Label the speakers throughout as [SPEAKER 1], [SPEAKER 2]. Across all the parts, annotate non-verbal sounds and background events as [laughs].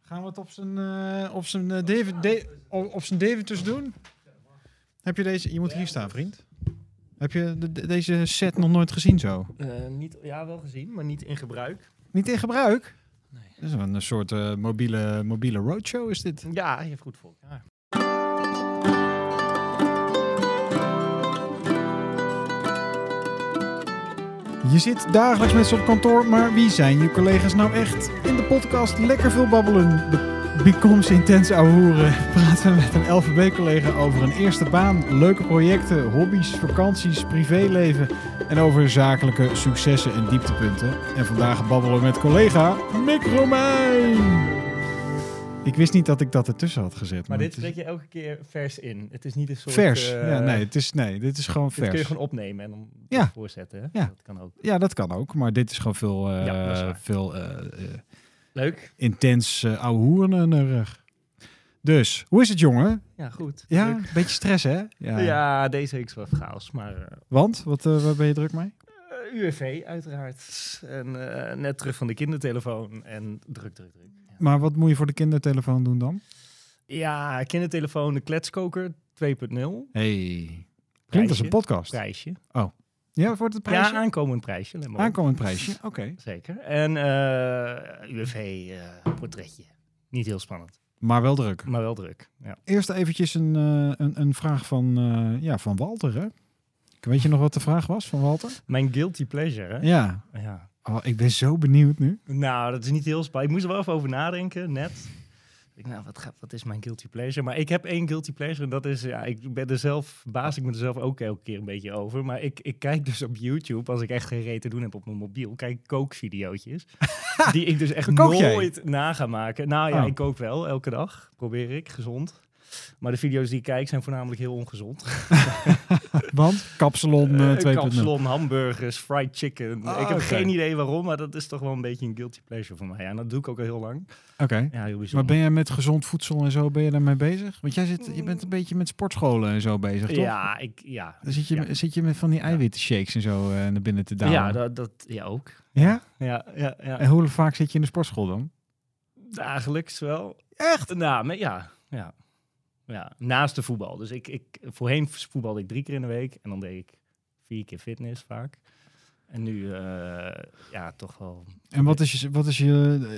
[SPEAKER 1] Gaan we het op zijn, eh, op zijn, eh, David, Da- op, op zijn Davitus doen? Heb je deze... Je moet hier staan, vriend. Heb je de- de- deze set nog nooit gezien zo?
[SPEAKER 2] Eh, niet, ja, wel gezien, maar niet in gebruik.
[SPEAKER 1] Niet in gebruik?
[SPEAKER 2] Nee.
[SPEAKER 1] Dit is wel een soort eh, mobiele, mobiele roadshow is dit.
[SPEAKER 2] Ja, je hebt goed voor elkaar.
[SPEAKER 1] Je zit dagelijks met ze op kantoor, maar wie zijn je collega's nou echt? In de podcast Lekker Veel Babbelen, de Becomes Intense Ahoeren, [laughs] praten we met een LVB-collega over een eerste baan, leuke projecten, hobby's, vakanties, privéleven en over zakelijke successen en dieptepunten. En vandaag babbelen we met collega Mick Romein. Ik wist niet dat ik dat ertussen had gezet.
[SPEAKER 2] Maar dit
[SPEAKER 1] het is
[SPEAKER 2] spreek je elke keer vers in. Het is niet een soort...
[SPEAKER 1] vers.
[SPEAKER 2] eh,
[SPEAKER 1] ja, nee, het is, nee, dit is gewoon
[SPEAKER 2] Dit kun je
[SPEAKER 1] vers.
[SPEAKER 2] gewoon opnemen en dan
[SPEAKER 1] Ja.
[SPEAKER 2] voorzetten. Hè?
[SPEAKER 1] Ja.
[SPEAKER 2] Dat kan ook.
[SPEAKER 1] Ja, dat kan ook, maar dit is gewoon veel, eh,
[SPEAKER 2] Ja, dat is waar.
[SPEAKER 1] veel eh, eh,
[SPEAKER 2] Leuk.
[SPEAKER 1] intens uh, ouwe hoeren en rug. Dus, hoe is het, jongen?
[SPEAKER 2] Ja, goed.
[SPEAKER 1] Ja,
[SPEAKER 2] Leuk.
[SPEAKER 1] een beetje stress, hè? Ja.
[SPEAKER 2] Ja. deze week is wel chaos, maar... eh,
[SPEAKER 1] Want? Wat, eh, waar ben je druk mee?
[SPEAKER 2] eh, UWV uiteraard. En eh, net terug van de kindertelefoon. En druk, druk, druk. Ja.
[SPEAKER 1] Maar wat moet je voor de kindertelefoon doen dan?
[SPEAKER 2] Ja, kindertelefoon, de kletskoker 2.0.
[SPEAKER 1] Hey. Klinkt als
[SPEAKER 2] Prijsje.
[SPEAKER 1] een podcast.
[SPEAKER 2] Prijsje.
[SPEAKER 1] Ja, voor het prijsje?
[SPEAKER 2] Ja, aankomend prijsje. let maar op.
[SPEAKER 1] Aankomend prijsje, oké.
[SPEAKER 2] Zeker. En eh UFV eh, portretje. Niet heel spannend,
[SPEAKER 1] Maar wel druk.
[SPEAKER 2] maar wel druk. Ja.
[SPEAKER 1] Eerst eventjes een, eh, een, een vraag van, eh, ja, van Walter, hè? Weet je nog wat de vraag was van Walter?
[SPEAKER 2] Mijn guilty pleasure, hè?
[SPEAKER 1] Ja.
[SPEAKER 2] Ja.
[SPEAKER 1] Oh, ik ben zo benieuwd nu.
[SPEAKER 2] Nou, dat is niet heel spannend. Ik moest er wel even over nadenken, net. Ik, nou, wat, gaat, wat is mijn guilty pleasure? Maar ik heb één guilty pleasure en dat is... Ja, ik ben er zelf, baas ik me er zelf ook elke keer een beetje over. Maar ik, ik kijk dus op YouTube, als ik echt geen reet te doen heb op mijn mobiel, kijk ik
[SPEAKER 1] [laughs]
[SPEAKER 2] kookvideootjes. die ik dus echt
[SPEAKER 1] Kook jij?
[SPEAKER 2] nooit na ga maken. Nou ja,
[SPEAKER 1] Oh.
[SPEAKER 2] ik kook wel, elke dag. Probeer ik, gezond. Maar de video's die ik kijk zijn voornamelijk heel ongezond.
[SPEAKER 1] Want? Kapsalon eh, 2.0.
[SPEAKER 2] Uh, Kapsalon, hamburgers, fried chicken.
[SPEAKER 1] Ah,
[SPEAKER 2] ik heb
[SPEAKER 1] oké.
[SPEAKER 2] geen idee waarom, maar dat is toch wel een beetje een guilty pleasure voor mij. Ja, en dat doe ik ook al heel lang.
[SPEAKER 1] Oké.
[SPEAKER 2] Ja, heel
[SPEAKER 1] Maar
[SPEAKER 2] bijzonder.
[SPEAKER 1] ben jij met gezond voedsel en zo, ben je daarmee bezig? Want jij zit, je bent een beetje met sportscholen en zo bezig, toch?
[SPEAKER 2] Mm. Ja, ik, ja.
[SPEAKER 1] Dan zit je,
[SPEAKER 2] Ja.
[SPEAKER 1] zit je met van die eiwitten shakes en zo eh, naar binnen te dalen.
[SPEAKER 2] Ja, dat, dat, ja, ook.
[SPEAKER 1] Ja?
[SPEAKER 2] Ja, ja, ja.
[SPEAKER 1] En hoe vaak zit je in de sportschool dan?
[SPEAKER 2] [laughs] Dagelijks wel. Echt? Nou, maar ja, ja. ja. Naast de voetbal. Dus ik, ik, voorheen voetbalde ik drie keer in de week. En dan deed ik vier keer fitness vaak. En nu, eh, ja, toch wel
[SPEAKER 1] En wat is je, wat is je,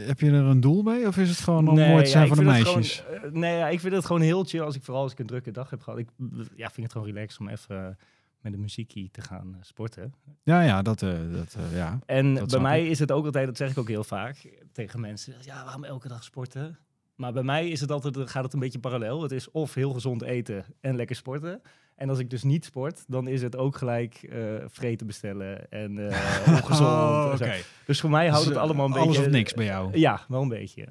[SPEAKER 1] heb je er een doel mee? Of is het gewoon om mooi te
[SPEAKER 2] ja,
[SPEAKER 1] zijn
[SPEAKER 2] ik
[SPEAKER 1] voor de
[SPEAKER 2] vind het
[SPEAKER 1] meisjes?
[SPEAKER 2] gewoon, eh, nee, ja, ik vind het gewoon heel chill als ik vooral als ik een drukke dag heb gehad. Ik ja, vind het gewoon relaxed om even eh, met de muziekie te gaan eh, sporten.
[SPEAKER 1] Ja, ja, dat, eh, dat eh, ja.
[SPEAKER 2] En bij
[SPEAKER 1] snap
[SPEAKER 2] mij is het ook altijd, dat zeg ik ook heel vaak tegen mensen, ja, waarom elke dag sporten? Maar bij mij is het altijd, dan gaat het een beetje parallel. Het is of heel gezond eten en lekker sporten. En als ik dus niet sport, dan is het ook gelijk eh vreten bestellen
[SPEAKER 1] [laughs]
[SPEAKER 2] en eh ongezond.
[SPEAKER 1] Oh,
[SPEAKER 2] en zo.
[SPEAKER 1] oké.
[SPEAKER 2] Dus voor mij houdt
[SPEAKER 1] Dus,
[SPEAKER 2] het allemaal een
[SPEAKER 1] eh, alles
[SPEAKER 2] beetje...
[SPEAKER 1] of niks bij jou.
[SPEAKER 2] Ja, wel een beetje.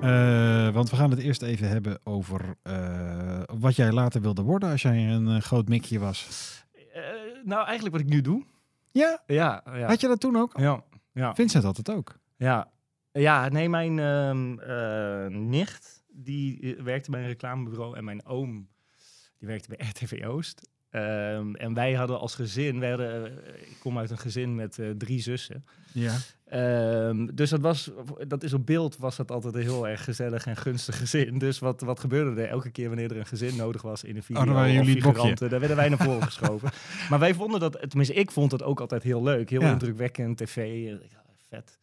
[SPEAKER 1] Eh, want we gaan het eerst even hebben over eh, wat jij later wilde worden als jij een eh, groot mikje was.
[SPEAKER 2] Eh, nou, eigenlijk wat ik nu doe.
[SPEAKER 1] Ja?
[SPEAKER 2] Ja, ja.
[SPEAKER 1] Had je dat toen ook?
[SPEAKER 2] Ja, ja,
[SPEAKER 1] Vincent had het ook.
[SPEAKER 2] ja. Ja, nee, mijn ehm, eh, nicht, die eh, werkte bij een reclamebureau en mijn oom, die werkte bij [laughs] RTV Oost. Ehm, en wij hadden als gezin, wij hadden, eh, ik kom uit een gezin met eh, drie zussen.
[SPEAKER 1] Ja.
[SPEAKER 2] Ehm, dus dat, was, dat is op beeld was dat altijd een heel erg gezellig en gunstig gezin. Dus wat, wat gebeurde er elke keer wanneer er een gezin nodig was in een video
[SPEAKER 1] Oh, dan waren
[SPEAKER 2] of
[SPEAKER 1] jullie het bokje.
[SPEAKER 2] figuranten, Daar werden wij naar voren
[SPEAKER 1] [laughs]
[SPEAKER 2] geschoven. Maar wij vonden dat, tenminste ik vond dat ook altijd heel leuk. Heel
[SPEAKER 1] Ja.
[SPEAKER 2] indrukwekkend, tv, eh, ik dacht, vet.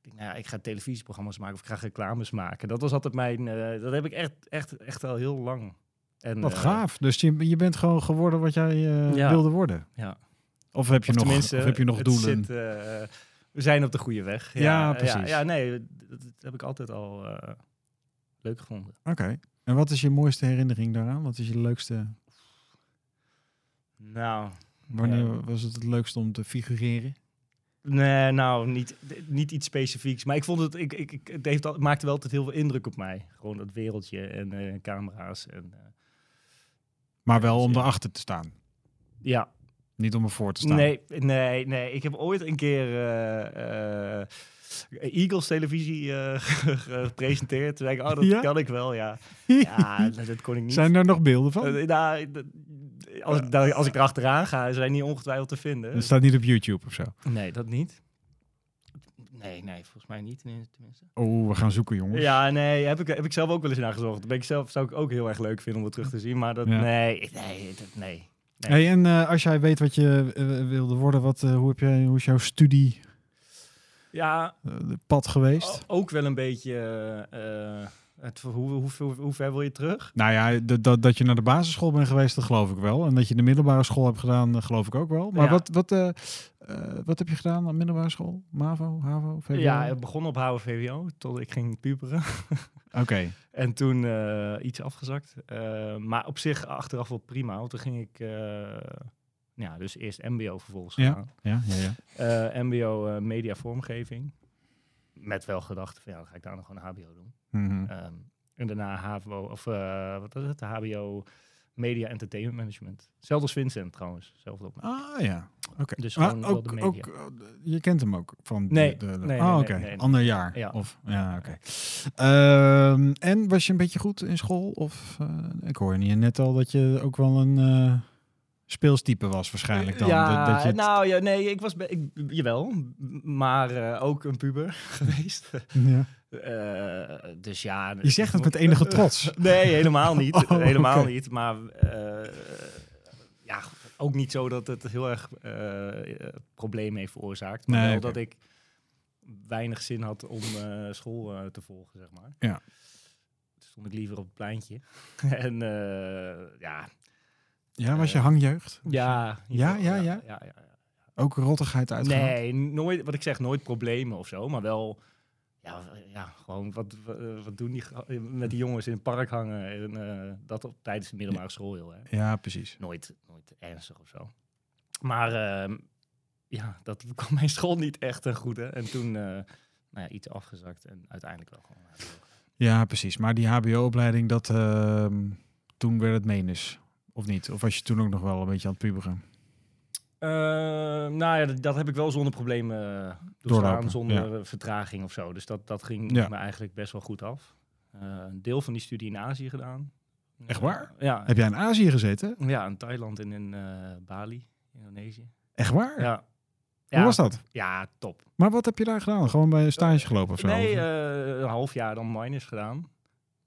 [SPEAKER 2] Ik denk, nou ja, ik ga televisieprogramma's maken of ik ga reclames maken. Dat was altijd mijn, eh, dat heb ik echt, echt, echt al heel lang. En,
[SPEAKER 1] Wat
[SPEAKER 2] eh,
[SPEAKER 1] gaaf. Dus je, je bent gewoon geworden wat jij eh,
[SPEAKER 2] Ja.
[SPEAKER 1] wilde worden.
[SPEAKER 2] Ja.
[SPEAKER 1] Of heb je,
[SPEAKER 2] Of
[SPEAKER 1] nog, of
[SPEAKER 2] tenminste,
[SPEAKER 1] heb je nog
[SPEAKER 2] het
[SPEAKER 1] doelen?
[SPEAKER 2] zit, eh, we zijn op de goede weg.
[SPEAKER 1] Ja, precies.
[SPEAKER 2] Ja, nee, dat, dat heb ik altijd al eh, leuk gevonden.
[SPEAKER 1] Oké. En wat is je mooiste herinnering daaraan? Wat is je leukste?
[SPEAKER 2] Nou,
[SPEAKER 1] Wanneer
[SPEAKER 2] Ja.
[SPEAKER 1] was het het leukste om te figureren?
[SPEAKER 2] nee, nou niet, niet iets specifieks. Maar ik vond het, ik, ik, ik- het, heeft al, het maakte wel altijd heel veel indruk op mij. Gewoon dat wereldje en eh, camera's. En, eh,
[SPEAKER 1] Maar wel om
[SPEAKER 2] Ja.
[SPEAKER 1] erachter te staan.
[SPEAKER 2] ja,
[SPEAKER 1] Niet om ervoor te staan. [laughs]
[SPEAKER 2] Nee, nee, nee. Ik heb ooit een keer eh, eh, Eagles televisie eh, [laughs] gepresenteerd. Toen dacht ik, oh, dat
[SPEAKER 1] Ja?
[SPEAKER 2] kan ik wel, ja.
[SPEAKER 1] [laughs]
[SPEAKER 2] Ja, dat, dat kon ik niet.
[SPEAKER 1] Zijn er nog beelden van?
[SPEAKER 2] Eh, nou, dat- als, ik daar- als ik Dus- erachteraan ga, zijn die ongetwijfeld te vinden.
[SPEAKER 1] Dat staat niet op YouTube of zo.
[SPEAKER 2] Nee, dat niet. Nee, nee, volgens mij niet tenmin- tenminste.
[SPEAKER 1] Oh, we gaan zoeken, jongens.
[SPEAKER 2] Ja, nee, heb ik, heb ik zelf ook wel eens naar gezocht. Ben ik zelf, zou ik ook heel erg leuk vinden om het terug te zien. Maar dat,
[SPEAKER 1] Ja.
[SPEAKER 2] nee, nee, dat- nee. Nee.
[SPEAKER 1] Hey, en eh, als jij weet wat je eh, wilde worden, wat, eh, hoe, heb jij, hoe is jouw studie
[SPEAKER 2] Ja,
[SPEAKER 1] eh, pad geweest?
[SPEAKER 2] o- ook wel een beetje eh, eh, het, hoe, hoe, hoe, hoe ver wil je terug?
[SPEAKER 1] Nou ja, dat, dat, dat je naar de basisschool bent geweest, dat geloof ik wel. En dat je de middelbare school hebt gedaan, dat geloof ik ook wel. Maar
[SPEAKER 2] Ja.
[SPEAKER 1] wat, wat, eh, eh, wat heb je gedaan aan de middelbare school? MAVO, HAVO, VWO?
[SPEAKER 2] Ja, ik begon op HVVO, tot ik ging puberen.
[SPEAKER 1] Oké.
[SPEAKER 2] En toen eh, iets afgezakt. Eh, maar op zich achteraf wel prima. Want toen ging ik, eh, ja, dus eerst mbo vervolgens gedaan.
[SPEAKER 1] Ja, ja, ja.
[SPEAKER 2] Eh, mbo eh, media vormgeving. Met wel gedachten van, ja, dan ga ik daar nog gewoon hbo doen.
[SPEAKER 1] Mhm.
[SPEAKER 2] Ehm, en daarna HVO, of eh, wat is het? HBO Media Entertainment Management. Zelfde als Vincent trouwens, zelfde opname.
[SPEAKER 1] Ah ja, oké.
[SPEAKER 2] Dus
[SPEAKER 1] Maar
[SPEAKER 2] gewoon wel
[SPEAKER 1] ook,
[SPEAKER 2] de media.
[SPEAKER 1] ook, eh, je kent hem ook van de-
[SPEAKER 2] Nee,
[SPEAKER 1] de... de-
[SPEAKER 2] nee,
[SPEAKER 1] ah,
[SPEAKER 2] nee,
[SPEAKER 1] oké.
[SPEAKER 2] nee, nee, nee.
[SPEAKER 1] Ander jaar.
[SPEAKER 2] Ja.
[SPEAKER 1] Of, ja, oké. Ehm, en was je een beetje goed in school? Of, eh, ik hoor je net al dat je ook wel een eh, speelstype was waarschijnlijk dan.
[SPEAKER 2] Ja,
[SPEAKER 1] dat, dat je het-
[SPEAKER 2] nou ja, nee, ik was, be- ik, jawel, m- maar eh, ook een puber [laughs] geweest.
[SPEAKER 1] ja.
[SPEAKER 2] Eh, dus ja.
[SPEAKER 1] Je zegt het met enige trots.
[SPEAKER 2] Nee, helemaal niet.
[SPEAKER 1] [laughs] Oh,
[SPEAKER 2] helemaal
[SPEAKER 1] oké.
[SPEAKER 2] niet. Maar eh, ja, ook niet zo dat het heel erg eh, eh, problemen heeft veroorzaakt. Maar
[SPEAKER 1] Nee,
[SPEAKER 2] wel
[SPEAKER 1] oké.
[SPEAKER 2] dat ik weinig zin had om eh, school eh, te volgen, zeg maar.
[SPEAKER 1] Ja.
[SPEAKER 2] Toen Stond ik liever op het pleintje. [laughs] en eh, ja,
[SPEAKER 1] Ja, was je
[SPEAKER 2] Eh,
[SPEAKER 1] hangjeugd?
[SPEAKER 2] ja,
[SPEAKER 1] Ja, ja, ja.
[SPEAKER 2] ja, ja, ja.
[SPEAKER 1] Ook rottigheid uitgehaald?
[SPEAKER 2] Nee, nooit, wat ik zeg, nooit problemen of zo, maar wel. Ja, ja gewoon wat, wat, wat doen die ga- met die jongens in het park hangen? En, eh, dat op, tijdens de middelbare school heel erg.
[SPEAKER 1] Ja, precies.
[SPEAKER 2] Nooit, nooit ernstig of zo. Maar ehm, ja, dat [laughs] kwam mijn school niet echt ten goede. En toen eh, nou ja, iets afgezakt en uiteindelijk wel gewoon. eh,
[SPEAKER 1] Ja, precies. Maar die hbo-opleiding, dat ehm, toen werd het menus. Of niet? Of was je toen ook nog wel een beetje aan het puberen?
[SPEAKER 2] Eh, nou ja, dat, dat heb ik wel zonder problemen eh,
[SPEAKER 1] Doorlopen,
[SPEAKER 2] doorstaan, zonder eh, vertraging of zo. Dus dat, dat ging
[SPEAKER 1] Ja.
[SPEAKER 2] me eigenlijk best wel goed af. Eh, een deel van die studie in Azië gedaan.
[SPEAKER 1] Echt waar?
[SPEAKER 2] Eh, ja,
[SPEAKER 1] Heb jij in Azië gezeten?
[SPEAKER 2] ja, in Thailand en in eh, Bali, Indonesië.
[SPEAKER 1] Echt waar?
[SPEAKER 2] Ja.
[SPEAKER 1] Hoe was dat?
[SPEAKER 2] Ja, top.
[SPEAKER 1] Maar wat heb je daar gedaan? Gewoon bij een stage gelopen of zo?
[SPEAKER 2] Nee,
[SPEAKER 1] Of-
[SPEAKER 2] eh, een half jaar dan minus gedaan.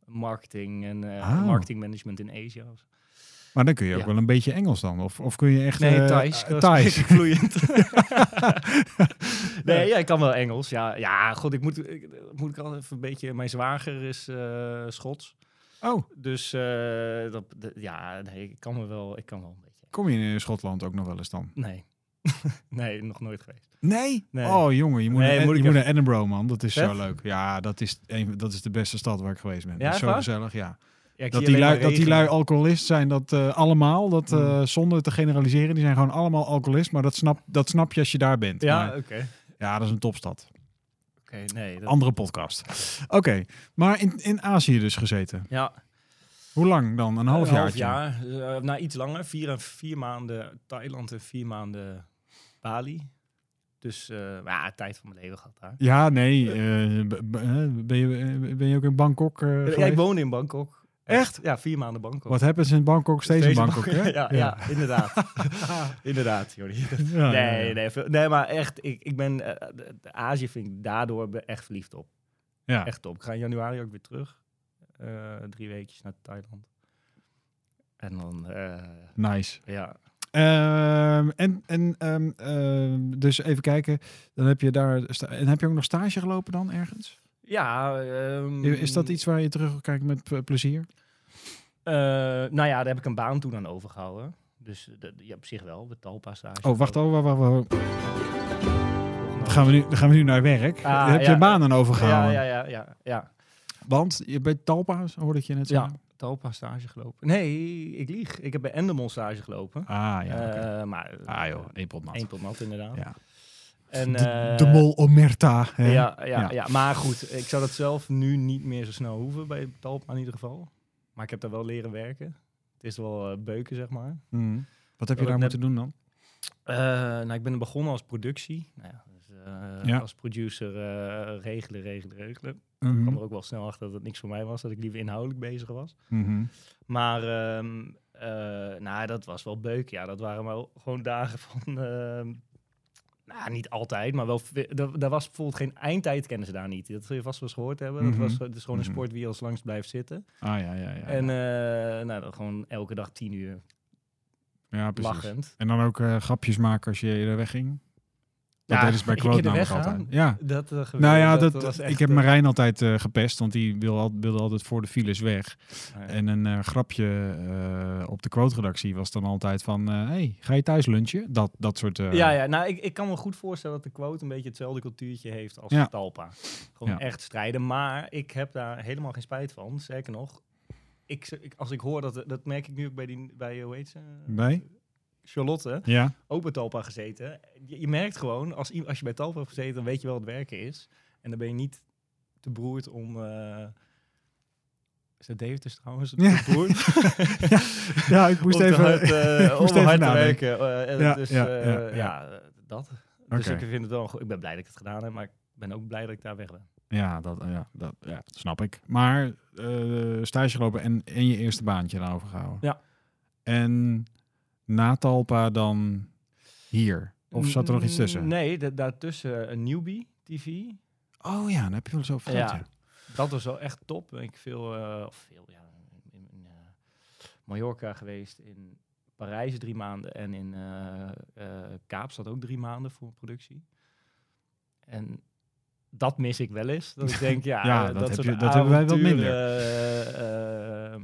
[SPEAKER 2] Marketing en eh
[SPEAKER 1] Ah.
[SPEAKER 2] marketing management in Azië.
[SPEAKER 1] maar dan kun je ook
[SPEAKER 2] ja.
[SPEAKER 1] wel een beetje Engels dan. Of, of kun je echt...
[SPEAKER 2] Nee,
[SPEAKER 1] eh,
[SPEAKER 2] Thais.
[SPEAKER 1] eh,
[SPEAKER 2] Dat
[SPEAKER 1] Thais.
[SPEAKER 2] spreek ik [laughs]
[SPEAKER 1] [laughs]
[SPEAKER 2] vloeiend. nee, ja, ik kan wel Engels. Ja, ja god, ik moet, ik, moet ik al even een beetje... Mijn zwager is eh, Schots.
[SPEAKER 1] Oh,
[SPEAKER 2] Dus eh, dat, dat- ja, nee, ik kan me wel, ik kan wel een beetje.
[SPEAKER 1] kom je in Schotland ook nog wel eens dan?
[SPEAKER 2] Nee. [laughs] nee, nog nooit geweest.
[SPEAKER 1] Nee?
[SPEAKER 2] Nee.
[SPEAKER 1] Oh jongen, je moet,
[SPEAKER 2] Nee,
[SPEAKER 1] naar, Ed-
[SPEAKER 2] moet ik
[SPEAKER 1] je moet
[SPEAKER 2] even-
[SPEAKER 1] naar Edinburgh man. Dat is zo
[SPEAKER 2] Vet?
[SPEAKER 1] leuk. Ja, dat is, een, dat is de beste stad waar ik geweest ben.
[SPEAKER 2] Ja,
[SPEAKER 1] dat is
[SPEAKER 2] echt
[SPEAKER 1] zo
[SPEAKER 2] waar?
[SPEAKER 1] gezellig, ja.
[SPEAKER 2] Ja, ik
[SPEAKER 1] Dat
[SPEAKER 2] zie
[SPEAKER 1] die,
[SPEAKER 2] alleen
[SPEAKER 1] lui,
[SPEAKER 2] maar
[SPEAKER 1] dat die
[SPEAKER 2] regen. Mm.
[SPEAKER 1] lui alcoholist zijn, dat eh, allemaal, dat, eh, zonder te generaliseren, die zijn gewoon allemaal alcoholist. Maar dat snap, dat snap je als je daar bent.
[SPEAKER 2] Ja,
[SPEAKER 1] Maar
[SPEAKER 2] oké.
[SPEAKER 1] ja dat is een topstad.
[SPEAKER 2] Oké, nee. dat-
[SPEAKER 1] Andere podcast. Oké, maar in, in Azië dus gezeten.
[SPEAKER 2] ja,
[SPEAKER 1] Hoe lang dan? Een half,
[SPEAKER 2] half
[SPEAKER 1] jaar.
[SPEAKER 2] jaar. eh, nou, iets langer. Vier, en vier maanden Thailand en vier maanden Bali. Dus, eh, maar ja, tijd van mijn leven gehad daar.
[SPEAKER 1] Ja, nee. eh, b- b- eh, ben, je, eh, ben je ook in Bangkok eh,
[SPEAKER 2] Ja, ik
[SPEAKER 1] geweest?
[SPEAKER 2] woon in Bangkok.
[SPEAKER 1] Echt?
[SPEAKER 2] Ja, vier maanden Bangkok.
[SPEAKER 1] Wat hebben ze in Bangkok? Steeds in
[SPEAKER 2] Steeds
[SPEAKER 1] Bangkok, hè?
[SPEAKER 2] [laughs] ja, ja. inderdaad.
[SPEAKER 1] [laughs]
[SPEAKER 2] inderdaad, Jordi. [laughs]
[SPEAKER 1] Ja, ja, ja.
[SPEAKER 2] Nee, nee, veel- nee, maar echt, ik, ik ben, eh, de- de Azië vind ik daardoor be- echt verliefd op.
[SPEAKER 1] Ja.
[SPEAKER 2] Echt op. Ik ga in januari ook weer terug. Eh, drie weekjes naar Thailand. En dan, eh,
[SPEAKER 1] Nice.
[SPEAKER 2] ja.
[SPEAKER 1] Ehm, en en ehm, ehm, dus even kijken. Dan heb je daar sta- en heb je ook nog stage gelopen dan ergens?
[SPEAKER 2] Ja, ehm,
[SPEAKER 1] Is dat iets waar je terug kijkt met ple- plezier?
[SPEAKER 2] eh, nou ja, daar heb ik een baan toen aan overgehouden. Dus eh, dat- ja, op zich wel, met Talpa stage.
[SPEAKER 1] Oh, wacht. Oh, wacht, wacht, wacht. Dan gaan we nu, dan gaan we nu naar werk.
[SPEAKER 2] Ah,
[SPEAKER 1] heb je
[SPEAKER 2] ja.
[SPEAKER 1] een baan aan
[SPEAKER 2] Ja,
[SPEAKER 1] overgehouden?
[SPEAKER 2] ja, ja, ja, ja.
[SPEAKER 1] Want je bent Talpa, hoorde ik je net
[SPEAKER 2] Ja.
[SPEAKER 1] zeggen.
[SPEAKER 2] Talpa stage gelopen. Nee, ik lieg. Ik heb bij Endemol stage gelopen.
[SPEAKER 1] Ah, ja. oké.
[SPEAKER 2] Eh, maar eh,
[SPEAKER 1] Ah joh, één pot nat.
[SPEAKER 2] één tot nat inderdaad.
[SPEAKER 1] Ja.
[SPEAKER 2] En,
[SPEAKER 1] de,
[SPEAKER 2] eh,
[SPEAKER 1] de mol Omerta. hè?
[SPEAKER 2] Ja, ja,
[SPEAKER 1] Ja.
[SPEAKER 2] ja. maar goed. Ik zou dat zelf nu niet meer zo snel hoeven bij Talpa in ieder geval. Maar ik heb daar wel leren werken. Het is wel eh, beuken, zeg maar.
[SPEAKER 1] Mm. Wat heb je
[SPEAKER 2] Wat
[SPEAKER 1] daar
[SPEAKER 2] ik
[SPEAKER 1] moeten
[SPEAKER 2] net-
[SPEAKER 1] doen dan?
[SPEAKER 2] Eh, nou, ik ben begonnen als productie. Nou ja, dus, eh,
[SPEAKER 1] Ja.
[SPEAKER 2] Als producer eh, regelen, regelen, regelen. Ik
[SPEAKER 1] Mhm.
[SPEAKER 2] kwam er ook wel snel achter dat het niks voor mij was. Dat ik liever inhoudelijk bezig was.
[SPEAKER 1] Mhm.
[SPEAKER 2] Maar ehm, [laughs] eh, nou, dat was wel beuk. Ja, dat waren wel gewoon dagen van. ehm, Nou, niet altijd, maar wel. ve- Daar daar was bijvoorbeeld geen eindtijd, kennen ze daar niet. Dat zul je vast wel eens gehoord hebben.
[SPEAKER 1] Mhm.
[SPEAKER 2] Dat was eh, het is gewoon een
[SPEAKER 1] Mhm.
[SPEAKER 2] sport wie als langs blijft zitten.
[SPEAKER 1] Ah ja, ja, ja.
[SPEAKER 2] En eh, nou, dan gewoon elke dag tien uur
[SPEAKER 1] ja precies.
[SPEAKER 2] lachend.
[SPEAKER 1] En dan ook eh, grapjes maken als je er wegging. Dat
[SPEAKER 2] Ja,
[SPEAKER 1] deden
[SPEAKER 2] [laughs]
[SPEAKER 1] ze bij
[SPEAKER 2] ik in
[SPEAKER 1] Quote
[SPEAKER 2] de
[SPEAKER 1] namelijk
[SPEAKER 2] weg gaan.
[SPEAKER 1] altijd. Ja.
[SPEAKER 2] Dat, eh, gebeurde,
[SPEAKER 1] Nou ja, dat,
[SPEAKER 2] was echt,
[SPEAKER 1] ik heb
[SPEAKER 2] eh,
[SPEAKER 1] Marijn altijd eh, gepest, want die wil al- wilde altijd voor de files weg.
[SPEAKER 2] nou ja.
[SPEAKER 1] En een eh, grapje eh, op de quote-redactie was dan altijd van... eh, hey, ga je thuis lunchen? Dat, dat soort... eh,
[SPEAKER 2] Ja, ja, nou, ik, ik kan me goed voorstellen dat de quote een beetje hetzelfde cultuurtje heeft als
[SPEAKER 1] Ja.
[SPEAKER 2] Talpa. Gewoon
[SPEAKER 1] Ja.
[SPEAKER 2] echt strijden. Maar ik heb daar helemaal geen spijt van. Zeker nog, ik, ik- als ik hoor dat, dat merk ik nu ook bij, die, bij eh, hoe heet ze?
[SPEAKER 1] Bij?
[SPEAKER 2] Charlotte,
[SPEAKER 1] Ja,
[SPEAKER 2] ook bij Talpa gezeten. Je, je merkt gewoon, als, i- als je bij Talpa hebt gezeten, dan weet je wel wat werken is. En dan ben je niet te beroerd om... eh, is dat David dus trouwens?
[SPEAKER 1] Ja.
[SPEAKER 2] Te beroerd?
[SPEAKER 1] [laughs] ja ik moest
[SPEAKER 2] om te
[SPEAKER 1] even... [laughs]
[SPEAKER 2] hard, eh,
[SPEAKER 1] moest
[SPEAKER 2] om
[SPEAKER 1] even
[SPEAKER 2] hard te
[SPEAKER 1] nadenken.
[SPEAKER 2] werken. Eh, eh,
[SPEAKER 1] Ja,
[SPEAKER 2] dus
[SPEAKER 1] ja,
[SPEAKER 2] eh,
[SPEAKER 1] ja,
[SPEAKER 2] ja,
[SPEAKER 1] ja.
[SPEAKER 2] eh, dat. Dus
[SPEAKER 1] Oké.
[SPEAKER 2] ik vind het wel. een go- Ik ben blij dat ik het gedaan heb, maar ik ben ook blij dat ik daar weg ben.
[SPEAKER 1] Ja, dat, ja, dat ja, snap ik. Maar eh, stage gelopen en, en je eerste baantje aan overgehouden.
[SPEAKER 2] Ja.
[SPEAKER 1] En na Talpa dan hier? Of zat er nog iets tussen?
[SPEAKER 2] Nee, da- daartussen een newbie TV.
[SPEAKER 1] Oh ja, dan heb je wel zo verteld.
[SPEAKER 2] Ja.
[SPEAKER 1] ja.
[SPEAKER 2] Dat was wel echt top. Ik veel, eh, of veel, ja, in, in, eh, Mallorca geweest, in Parijs drie maanden en in eh, eh, Kaapstad ook drie maanden voor een productie. En dat mis ik wel eens. Dat ik
[SPEAKER 1] [laughs]
[SPEAKER 2] denk, ja,
[SPEAKER 1] Ja,
[SPEAKER 2] eh,
[SPEAKER 1] dat
[SPEAKER 2] dat,
[SPEAKER 1] heb
[SPEAKER 2] soort
[SPEAKER 1] je- dat hebben wij wat
[SPEAKER 2] avonturen,
[SPEAKER 1] minder.
[SPEAKER 2] eh, eh,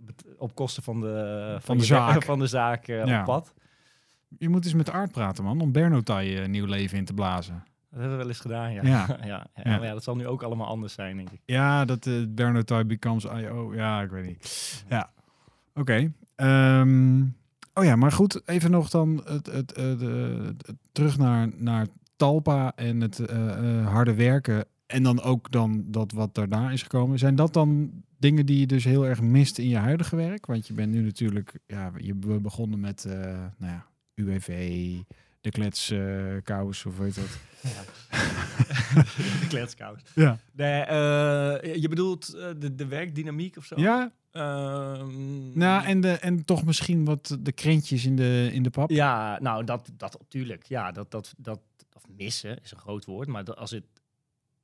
[SPEAKER 2] bet- op kosten van de, van
[SPEAKER 1] de
[SPEAKER 2] je wer-
[SPEAKER 1] zaak.
[SPEAKER 2] Van de zaak eh,
[SPEAKER 1] Ja.
[SPEAKER 2] op pad.
[SPEAKER 1] Je moet eens met Art praten, man, om Bernotai eh nieuw leven in te blazen.
[SPEAKER 2] Dat hebben we wel eens gedaan, ja.
[SPEAKER 1] Ja.
[SPEAKER 2] [laughs] Ja. ja,
[SPEAKER 1] Ja.
[SPEAKER 2] Maar ja, dat zal nu ook allemaal anders zijn, denk ik.
[SPEAKER 1] Ja, dat eh Bernotai becomes I.O. Ja, ik weet niet. Ja, oké. Ehm, oh ja, maar goed, even nog dan het, het, eh, de- het- terug naar, naar Talpa en het eh, eh, harde werken. En dan ook dan dat wat daarna is gekomen. Zijn dat dan dingen die je dus heel erg mist in je huidige werk? Want je bent nu natuurlijk, ja, je we begonnen met, eh, nou ja, UWV, de kletskous, kous of weet dat.
[SPEAKER 2] [laughs] de kletskous.
[SPEAKER 1] Ja. [laughs]
[SPEAKER 2] Nee, eh, je bedoelt eh, de, de werkdynamiek of zo?
[SPEAKER 1] Ja,
[SPEAKER 2] Ehm,
[SPEAKER 1] Nou, en, de, en toch misschien wat de krentjes in de, in de pap.
[SPEAKER 2] Ja, nou, dat, dat natuurlijk. Ja, dat, dat, dat, of missen is een groot woord. Maar dat, als, het,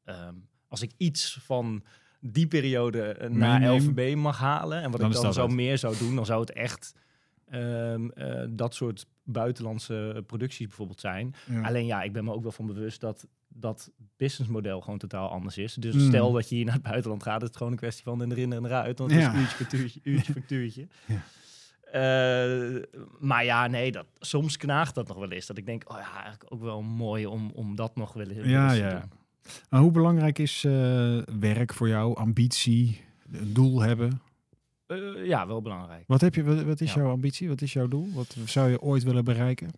[SPEAKER 2] ehm, als ik iets van die periode eh, na
[SPEAKER 1] Meeneem.
[SPEAKER 2] LVB mag halen... en wat
[SPEAKER 1] Dan is
[SPEAKER 2] ik dan
[SPEAKER 1] dat
[SPEAKER 2] zo
[SPEAKER 1] het.
[SPEAKER 2] meer zou doen... dan zou het echt ehm, eh, dat soort buitenlandse producties bijvoorbeeld zijn...
[SPEAKER 1] Ja.
[SPEAKER 2] Alleen ja, ik ben me ook wel van bewust dat dat businessmodel gewoon totaal anders is. Dus
[SPEAKER 1] Mm.
[SPEAKER 2] stel dat je hier naar het buitenland gaat, is het gewoon een kwestie van erin en eruit. Want het
[SPEAKER 1] Ja.
[SPEAKER 2] is uurtje factuurtje,
[SPEAKER 1] [laughs]
[SPEAKER 2] uurtje factuurtje.
[SPEAKER 1] Ja.
[SPEAKER 2] Eh, maar ja, nee, dat, soms knaagt dat nog wel eens. Dat ik denk, oh ja, eigenlijk ook wel mooi om, om dat nog wel eens
[SPEAKER 1] Ja,
[SPEAKER 2] te
[SPEAKER 1] ja.
[SPEAKER 2] doen.
[SPEAKER 1] Maar hoe belangrijk is eh, werk voor jou, ambitie, een doel hebben?
[SPEAKER 2] Eh, ja, wel belangrijk.
[SPEAKER 1] Wat, heb je, wat, wat is
[SPEAKER 2] Ja.
[SPEAKER 1] jouw ambitie? Wat is jouw doel? Wat zou je ooit willen bereiken?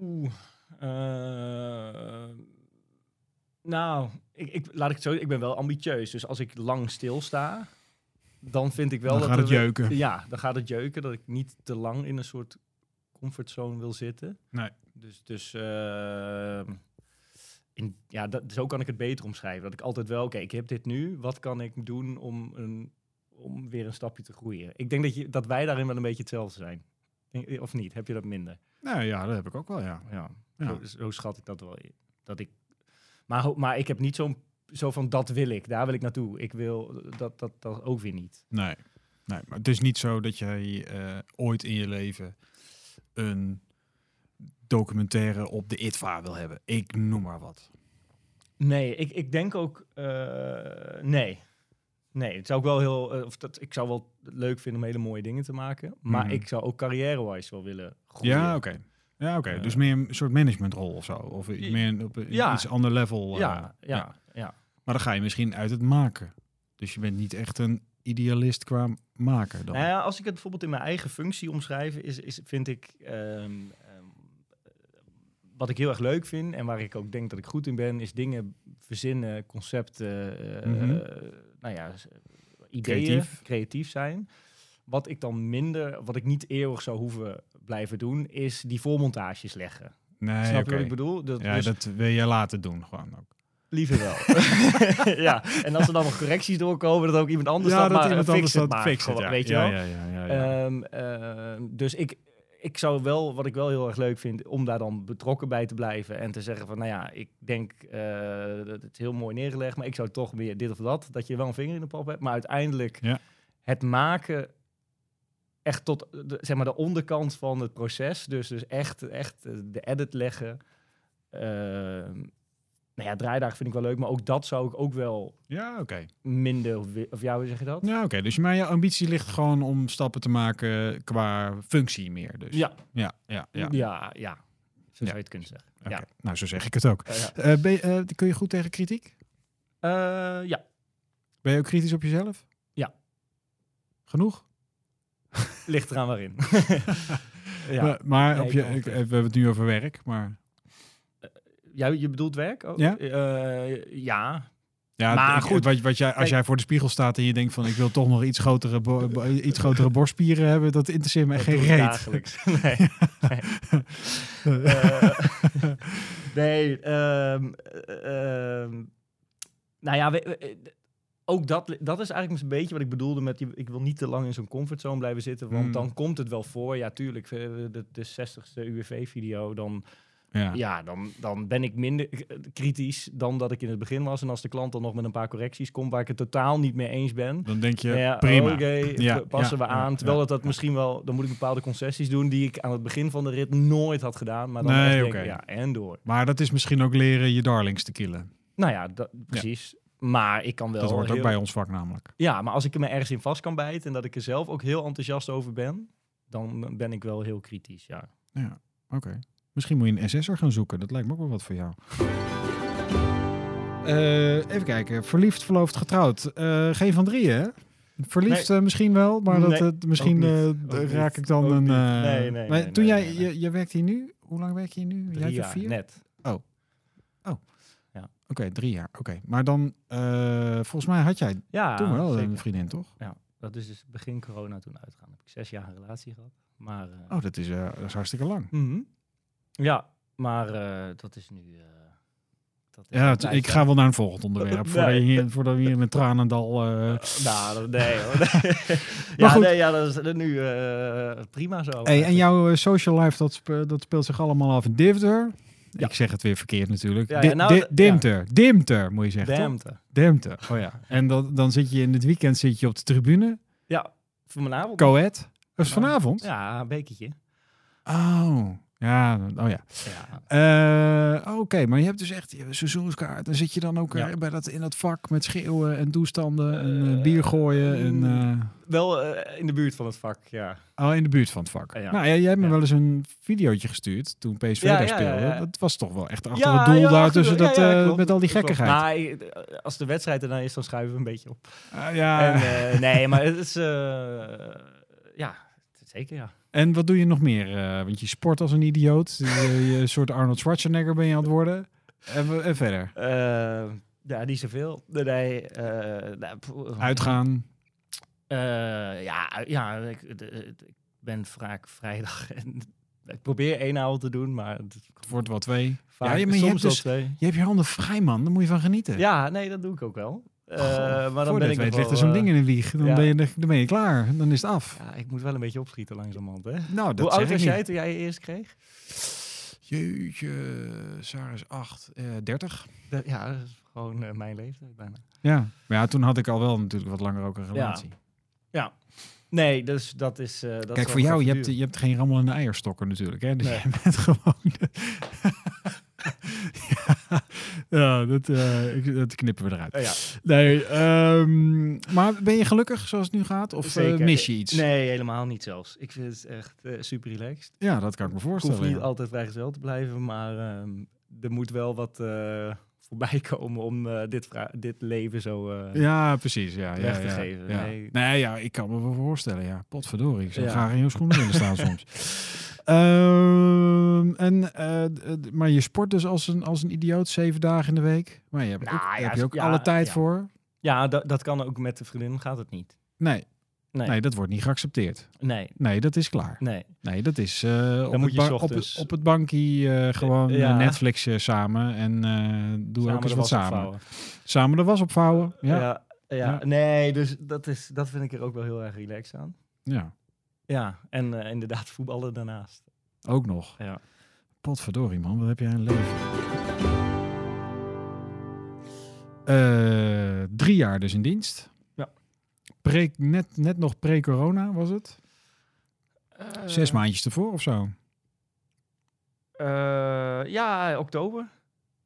[SPEAKER 2] Oeh. eh, nou, ik, ik, laat ik het zo Ik ben wel ambitieus. Dus als ik lang stilsta, dan vind ik wel
[SPEAKER 1] Dan
[SPEAKER 2] dat...
[SPEAKER 1] gaat
[SPEAKER 2] er
[SPEAKER 1] het
[SPEAKER 2] wel-
[SPEAKER 1] jeuken.
[SPEAKER 2] Ja, dan gaat het jeuken. Dat ik niet te lang in een soort comfortzone wil zitten.
[SPEAKER 1] Nee.
[SPEAKER 2] Dus, dus eh, in, ja, dat, zo kan ik het beter omschrijven. Dat ik altijd wel, oké, ik heb dit nu. Wat kan ik doen om, een, om weer een stapje te groeien? Ik denk dat, je, dat wij daarin wel een beetje hetzelfde zijn. Denk- Of niet? Heb je dat minder?
[SPEAKER 1] Nou ja, dat heb ik ook wel, ja.
[SPEAKER 2] Ja,
[SPEAKER 1] Ja.
[SPEAKER 2] Zo, zo schat ik dat wel in. Dat ik, maar, ho- maar ik heb niet zo'n, zo van dat wil ik, daar wil ik naartoe. Ik wil eh, dat, dat, dat ook weer niet.
[SPEAKER 1] Nee. nee, maar het is niet zo dat jij eh, ooit in je leven een documentaire op de ITVA wil hebben. Ik noem maar wat.
[SPEAKER 2] Nee, ik, ik denk ook, eh, nee. Nee, het zou ook wel heel, eh, of dat, ik zou wel leuk vinden om hele mooie dingen te maken. Maar
[SPEAKER 1] Mhm.
[SPEAKER 2] ik zou ook carrière-wise wel willen groeien.
[SPEAKER 1] Ja, oké. Ja, oké.
[SPEAKER 2] Eh.
[SPEAKER 1] dus meer een soort managementrol of zo. Of i- meer een- op een
[SPEAKER 2] Ja.
[SPEAKER 1] iets ander level. eh,
[SPEAKER 2] ja, ja, ja.
[SPEAKER 1] Maar dan ga je misschien uit het maken. Dus je bent niet echt een idealist qua maken dan.
[SPEAKER 2] Nou ja, als ik het bijvoorbeeld in mijn eigen functie omschrijf, is, is, vind ik ehm, ehm, wat ik heel erg leuk vind en waar ik ook denk dat ik goed in ben, is dingen verzinnen, concepten, eh,
[SPEAKER 1] Mhm.
[SPEAKER 2] eh, nou ja, s- ideeën,
[SPEAKER 1] Creatief.
[SPEAKER 2] creatief. zijn. Wat ik dan minder, wat ik niet eeuwig zou hoeven blijven doen, is die voormontages leggen.
[SPEAKER 1] nee,
[SPEAKER 2] Snap
[SPEAKER 1] Ah, oké.
[SPEAKER 2] je wat ik bedoel? Dat,
[SPEAKER 1] Ja,
[SPEAKER 2] dus
[SPEAKER 1] dat wil je later doen gewoon ook.
[SPEAKER 2] liever
[SPEAKER 1] [laughs]
[SPEAKER 2] wel. ja, en als er dan nog correcties doorkomen, dat ook iemand anders dat maar eh, fix het maar, gewoon, weet je wel.
[SPEAKER 1] ja, ja, ja, ja.
[SPEAKER 2] Ehm, ehm, dus ik, ik zou wel, wat ik wel heel erg leuk vind, om daar dan betrokken bij te blijven en te zeggen van, nou ja, ik denk eh, dat het heel mooi neergelegd, maar ik zou toch meer dit of dat, dat je wel een vinger in de pap hebt. Maar uiteindelijk
[SPEAKER 1] Ja.
[SPEAKER 2] het maken echt tot de, zeg maar de onderkant van het proces, dus, dus echt, echt eh, de edit leggen. Ehm, nou ja, draaidagen vind ik wel leuk, maar ook dat zou ik ook wel
[SPEAKER 1] Ja, oké.
[SPEAKER 2] minder, wi- of ja, hoe zeg je dat?
[SPEAKER 1] Ja, oké. Dus maar jouw ambitie ligt gewoon om stappen te maken qua functie meer. Dus.
[SPEAKER 2] Ja,
[SPEAKER 1] Ja, ja, ja.
[SPEAKER 2] ja, ja, zo
[SPEAKER 1] Ja.
[SPEAKER 2] zou je het kunnen zeggen.
[SPEAKER 1] Oké.
[SPEAKER 2] Ja.
[SPEAKER 1] Nou, zo zeg ik het ook.
[SPEAKER 2] Eh, ja.
[SPEAKER 1] Eh, ben je- eh, kun je goed tegen kritiek?
[SPEAKER 2] Eh, ja,
[SPEAKER 1] Ben je ook kritisch op jezelf?
[SPEAKER 2] Ja.
[SPEAKER 1] Genoeg?
[SPEAKER 2] ligt eraan
[SPEAKER 1] [laughs]
[SPEAKER 2] waarin. ja.
[SPEAKER 1] Maar, maar
[SPEAKER 2] Nee,
[SPEAKER 1] op
[SPEAKER 2] ik
[SPEAKER 1] je,
[SPEAKER 2] kan wel
[SPEAKER 1] ik- we
[SPEAKER 2] tegen.
[SPEAKER 1] hebben het nu over werk, maar...
[SPEAKER 2] ja, je bedoelt werk? ook?
[SPEAKER 1] Ja.
[SPEAKER 2] Eh, ja.
[SPEAKER 1] Ja,
[SPEAKER 2] Maar
[SPEAKER 1] ik-
[SPEAKER 2] goed,
[SPEAKER 1] Wat, wat jij, als
[SPEAKER 2] kijk-
[SPEAKER 1] jij voor de spiegel staat en je denkt van... ik wil toch nog iets grotere, bo- bo- iets grotere borstspieren hebben... dat interesseert me
[SPEAKER 2] dat
[SPEAKER 1] echt
[SPEAKER 2] doe
[SPEAKER 1] geen
[SPEAKER 2] ik
[SPEAKER 1] reet. [laughs]
[SPEAKER 2] Dagelijks. Nee. Nee. Eh, [laughs] nee, ehm, ehm, nou ja, we- we- eh, ook dat, dat is eigenlijk een beetje wat ik bedoelde met... die- Ik wil niet te lang in zo'n comfortzone blijven zitten, want
[SPEAKER 1] Hmm.
[SPEAKER 2] dan komt het wel voor. Ja, tuurlijk, eh, de, de 60ste UWV-video, dan
[SPEAKER 1] Ja.
[SPEAKER 2] Ja, dan, dan ben ik minder eh, kritisch dan dat ik in het begin was. En als de klant dan nog met een paar correcties komt waar ik het totaal niet mee eens ben.
[SPEAKER 1] Dan denk je,
[SPEAKER 2] ja, oh,
[SPEAKER 1] prima.
[SPEAKER 2] Oké,
[SPEAKER 1] Ja,
[SPEAKER 2] p- passen
[SPEAKER 1] ja,
[SPEAKER 2] we
[SPEAKER 1] ja,
[SPEAKER 2] aan.
[SPEAKER 1] ja,
[SPEAKER 2] Terwijl dat, dat misschien wel, dan moet ik bepaalde concessies doen die ik aan het begin van de rit nooit had gedaan. Maar dan
[SPEAKER 1] Nee,
[SPEAKER 2] echt denk,
[SPEAKER 1] oké.
[SPEAKER 2] ja, en door.
[SPEAKER 1] Maar dat is misschien ook leren je darlings te killen.
[SPEAKER 2] Nou ja, dat, precies. Maar ik kan wel.
[SPEAKER 1] Dat hoort ook
[SPEAKER 2] heel-
[SPEAKER 1] bij ons vak namelijk.
[SPEAKER 2] Ja, maar als ik er me ergens in vast kan bijten en dat ik er zelf ook heel enthousiast over ben, dan ben ik wel heel kritisch. Ja.
[SPEAKER 1] Ja, oké. Misschien moet je een SS'er gaan zoeken. Dat lijkt me ook wel wat voor jou. Eh, even kijken. Verliefd, verloofd, getrouwd. Eh, geen van drieën, hè? Verliefd eh, misschien wel, maar dat,
[SPEAKER 2] Nee,
[SPEAKER 1] het misschien
[SPEAKER 2] ook
[SPEAKER 1] eh,
[SPEAKER 2] niet.
[SPEAKER 1] d-
[SPEAKER 2] Ook niet.
[SPEAKER 1] raak ik dan
[SPEAKER 2] Ook
[SPEAKER 1] een...
[SPEAKER 2] niet.
[SPEAKER 1] eh,
[SPEAKER 2] Nee, nee,
[SPEAKER 1] maar
[SPEAKER 2] nee,
[SPEAKER 1] toen
[SPEAKER 2] nee,
[SPEAKER 1] jij,
[SPEAKER 2] nee, nee.
[SPEAKER 1] Je, je werkt hier nu? Hoe lang werk je hier nu? Een
[SPEAKER 2] Drie
[SPEAKER 1] jaartje of
[SPEAKER 2] jaar,
[SPEAKER 1] vier?
[SPEAKER 2] net.
[SPEAKER 1] Oké, drie jaar. Oké, maar dan... eh, volgens mij had jij
[SPEAKER 2] Ja,
[SPEAKER 1] toen wel
[SPEAKER 2] zeker.
[SPEAKER 1] een vriendin, toch?
[SPEAKER 2] Ja, dat is dus begin corona toen uitgegaan. Heb ik zes jaar een relatie gehad. Maar, eh,
[SPEAKER 1] Oh, dat is, eh, dat is hartstikke lang.
[SPEAKER 2] mhm. Ja, maar eh, dat is nu... eh, dat is
[SPEAKER 1] Ja,
[SPEAKER 2] een
[SPEAKER 1] het- ik
[SPEAKER 2] tijdje.
[SPEAKER 1] ga wel naar een volgend onderwerp.
[SPEAKER 2] [laughs] Nee.
[SPEAKER 1] Voordat, je hier, voordat we hier in een tranendal... eh,
[SPEAKER 2] Nou, dat- nee
[SPEAKER 1] [laughs]
[SPEAKER 2] hoor. [laughs] ja,
[SPEAKER 1] Maar goed.
[SPEAKER 2] nee, ja, dat is dat nu eh, prima zo.
[SPEAKER 1] Hey, en
[SPEAKER 2] eigenlijk.
[SPEAKER 1] jouw eh, social life, dat, spe- dat speelt zich allemaal af in Deventer.
[SPEAKER 2] Ja.
[SPEAKER 1] Ik zeg het weer verkeerd natuurlijk.
[SPEAKER 2] Ja,
[SPEAKER 1] Di-
[SPEAKER 2] ja, nou,
[SPEAKER 1] Di-
[SPEAKER 2] d- ja.
[SPEAKER 1] Dimter. Dimter, moet je zeggen. toch?
[SPEAKER 2] Damnte.
[SPEAKER 1] Dimter. Oh ja. En dan, dan zit je in het weekend zit je op de tribune.
[SPEAKER 2] Ja, voor mijn avond.
[SPEAKER 1] Coët. Dat is vanavond?
[SPEAKER 2] Ja, een bekertje.
[SPEAKER 1] Oh. Ja, oh ja.
[SPEAKER 2] Ja.
[SPEAKER 1] Eh, oh, Oké, maar je hebt dus echt je seizoenskaart. Dan zit je dan ook
[SPEAKER 2] Ja.
[SPEAKER 1] eh, bij dat, in dat vak met schreeuwen en toestanden en eh,
[SPEAKER 2] Eh, mm.
[SPEAKER 1] bier gooien. En,
[SPEAKER 2] Wel eh, in de buurt van het vak, ja.
[SPEAKER 1] eh, oh, in de buurt van het vak.
[SPEAKER 2] Eh, ja.
[SPEAKER 1] Nou, jij, jij hebt me
[SPEAKER 2] Ja.
[SPEAKER 1] wel eens een videootje gestuurd toen PSV
[SPEAKER 2] Ja,
[SPEAKER 1] daar
[SPEAKER 2] ja,
[SPEAKER 1] speelde.
[SPEAKER 2] ja, ja.
[SPEAKER 1] Dat was toch wel echt achter het doel daar
[SPEAKER 2] achter-
[SPEAKER 1] tussen
[SPEAKER 2] ja,
[SPEAKER 1] dat,
[SPEAKER 2] ja,
[SPEAKER 1] eh,
[SPEAKER 2] klopt,
[SPEAKER 1] met al die
[SPEAKER 2] klopt.
[SPEAKER 1] gekkigheid.
[SPEAKER 2] Maar eh, als de wedstrijd erna is, dan schuiven we een beetje op.
[SPEAKER 1] Ah, ja.
[SPEAKER 2] En,
[SPEAKER 1] en,
[SPEAKER 2] eh, [laughs] nee, maar het is... eh, ja, zeker ja.
[SPEAKER 1] wat doe je nog meer? Eh, want je sport als een idioot. je, je een soort Arnold Schwarzenegger ben je aan het worden. En, we- en verder.
[SPEAKER 2] Eh, ja, niet zoveel. Nee, Nee, eh, nou, pff,
[SPEAKER 1] Uitgaan.
[SPEAKER 2] eh, ja, u- ja ik, de- het- ik ben vaak vrijdag [laughs] en ik probeer één avond te doen, maar het is
[SPEAKER 1] Het wordt wel twee.
[SPEAKER 2] vaak,
[SPEAKER 1] ja, je- maar je
[SPEAKER 2] soms
[SPEAKER 1] hebt
[SPEAKER 2] wel
[SPEAKER 1] dus-
[SPEAKER 2] twee.
[SPEAKER 1] Je hebt je handen vrij, man. Daar moet je van genieten.
[SPEAKER 2] Ja, nee, dat doe ik ook wel. Eh, maar dan
[SPEAKER 1] Voordat
[SPEAKER 2] ben
[SPEAKER 1] je
[SPEAKER 2] ik nog
[SPEAKER 1] weet, ligt er
[SPEAKER 2] wel,
[SPEAKER 1] zo'n
[SPEAKER 2] eh,
[SPEAKER 1] ding in de wieg. Dan,
[SPEAKER 2] ja.
[SPEAKER 1] ben je, dan ben je klaar. Dan is het af.
[SPEAKER 2] Ja, ik moet wel een beetje opschieten langzamerhand, hè?
[SPEAKER 1] Nou, dat
[SPEAKER 2] Hoe
[SPEAKER 1] zeg
[SPEAKER 2] oud
[SPEAKER 1] ik
[SPEAKER 2] was
[SPEAKER 1] niet.
[SPEAKER 2] jij toen jij je eerst kreeg?
[SPEAKER 1] Jeetje, Sarah is Eh, 8, 30.
[SPEAKER 2] Dat- ja, dat is gewoon eh, mijn leeftijd bijna.
[SPEAKER 1] Ja. Maar ja, toen had ik al wel natuurlijk wat langer ook een relatie.
[SPEAKER 2] Nee, dus dat is... eh, dat zal
[SPEAKER 1] Kijk, voor
[SPEAKER 2] nog
[SPEAKER 1] jou,
[SPEAKER 2] even
[SPEAKER 1] je hebt,
[SPEAKER 2] duren.
[SPEAKER 1] je hebt geen rammelende eierstokken natuurlijk. Hè? Dus
[SPEAKER 2] Nee.
[SPEAKER 1] je [laughs] bent gewoon... de- [laughs] ja, ja, dat, eh, ik- dat knippen we eruit.
[SPEAKER 2] Eh, ja.
[SPEAKER 1] Nee, ehm, maar ben je gelukkig zoals het nu gaat? Of eh,
[SPEAKER 2] Zeker.
[SPEAKER 1] mis je iets?
[SPEAKER 2] Nee, helemaal niet zelfs. Ik vind het echt eh, super relaxed.
[SPEAKER 1] Ja, dat kan ik me
[SPEAKER 2] Ik
[SPEAKER 1] voorstellen.
[SPEAKER 2] hoef niet
[SPEAKER 1] ja.
[SPEAKER 2] altijd vrijgezel te blijven, maar ehm, er moet wel wat eh, voorbij [laughs] komen om eh, dit, vra- dit leven zo... eh,
[SPEAKER 1] Ja, precies. Ja, ja,
[SPEAKER 2] Weg te
[SPEAKER 1] ja,
[SPEAKER 2] geven,
[SPEAKER 1] ja.
[SPEAKER 2] nee.
[SPEAKER 1] ja, ik kan me wel voorstellen. Ja, potverdorie. Ik zou
[SPEAKER 2] Ja.
[SPEAKER 1] graag in je schoenen willen staan soms. [laughs] Ehm, en, eh, d- d- maar je sport dus als een, als een idioot zeven dagen in de week. Maar je hebt
[SPEAKER 2] Nou,
[SPEAKER 1] ook,
[SPEAKER 2] ja,
[SPEAKER 1] daar heb je ook
[SPEAKER 2] ja,
[SPEAKER 1] alle tijd
[SPEAKER 2] ja.
[SPEAKER 1] voor.
[SPEAKER 2] Ja, da- dat kan ook met de vriendin, gaat het niet.
[SPEAKER 1] Nee,
[SPEAKER 2] Nee,
[SPEAKER 1] nee.
[SPEAKER 2] nee,
[SPEAKER 1] dat wordt niet geaccepteerd.
[SPEAKER 2] nee.
[SPEAKER 1] Nee, dat is klaar. Nee, dat is eh, op,
[SPEAKER 2] moet
[SPEAKER 1] het
[SPEAKER 2] je
[SPEAKER 1] ba-
[SPEAKER 2] s
[SPEAKER 1] op,
[SPEAKER 2] ochtends-
[SPEAKER 1] op het bankje eh, gewoon
[SPEAKER 2] Ja.
[SPEAKER 1] eh, Netflix eh, samen. En eh, doe ook eens
[SPEAKER 2] Samen de
[SPEAKER 1] wat
[SPEAKER 2] was
[SPEAKER 1] samen.
[SPEAKER 2] opvouwen.
[SPEAKER 1] Samen de was opvouwen. Ja.
[SPEAKER 2] Ja.
[SPEAKER 1] ja.
[SPEAKER 2] ja, nee, dus dat, is, dat vind ik er ook wel heel erg relaxed aan. Ja, en eh, inderdaad voetballen daarnaast.
[SPEAKER 1] Ook nog.
[SPEAKER 2] Ja.
[SPEAKER 1] Potverdorie man, wat heb jij een leven. Eh, drie jaar dus in dienst.
[SPEAKER 2] Ja.
[SPEAKER 1] Pre, net, net nog pre-corona was het. Zes
[SPEAKER 3] Eh,
[SPEAKER 1] maandjes ervoor of zo.
[SPEAKER 3] eh, ja, oktober.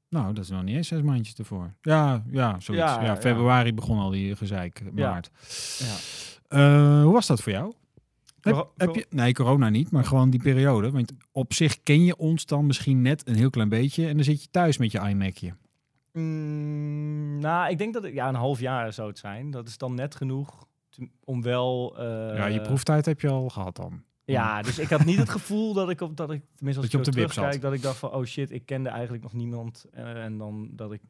[SPEAKER 1] Nou, dat is nog niet eens zes maandjes ervoor. Ja, ja, zoiets. Ja,
[SPEAKER 3] Ja, ja.
[SPEAKER 1] februari begon al die gezeik,
[SPEAKER 3] Ja.
[SPEAKER 1] maart.
[SPEAKER 3] Ja.
[SPEAKER 1] Eh, hoe was dat voor jou? Heb,
[SPEAKER 3] Coro-
[SPEAKER 1] heb je, nee, corona niet, maar gewoon die periode. Want op zich ken je ons dan misschien net een heel klein beetje. En dan zit je thuis met je iMacje.
[SPEAKER 2] Mm, nou, ik denk dat het ja, een half jaar zou het zijn. Dat is dan net genoeg te- om wel... eh,
[SPEAKER 1] ja, je proeftijd heb je al gehad dan.
[SPEAKER 2] Ja, dus ik had niet het gevoel dat ik op dat ik tenminste
[SPEAKER 1] Dat
[SPEAKER 2] als
[SPEAKER 1] je
[SPEAKER 2] ik
[SPEAKER 1] op de
[SPEAKER 2] zo
[SPEAKER 1] wip zat.
[SPEAKER 2] terugkijk dat ik dacht van oh shit, ik kende eigenlijk nog niemand eh, en dan dat ik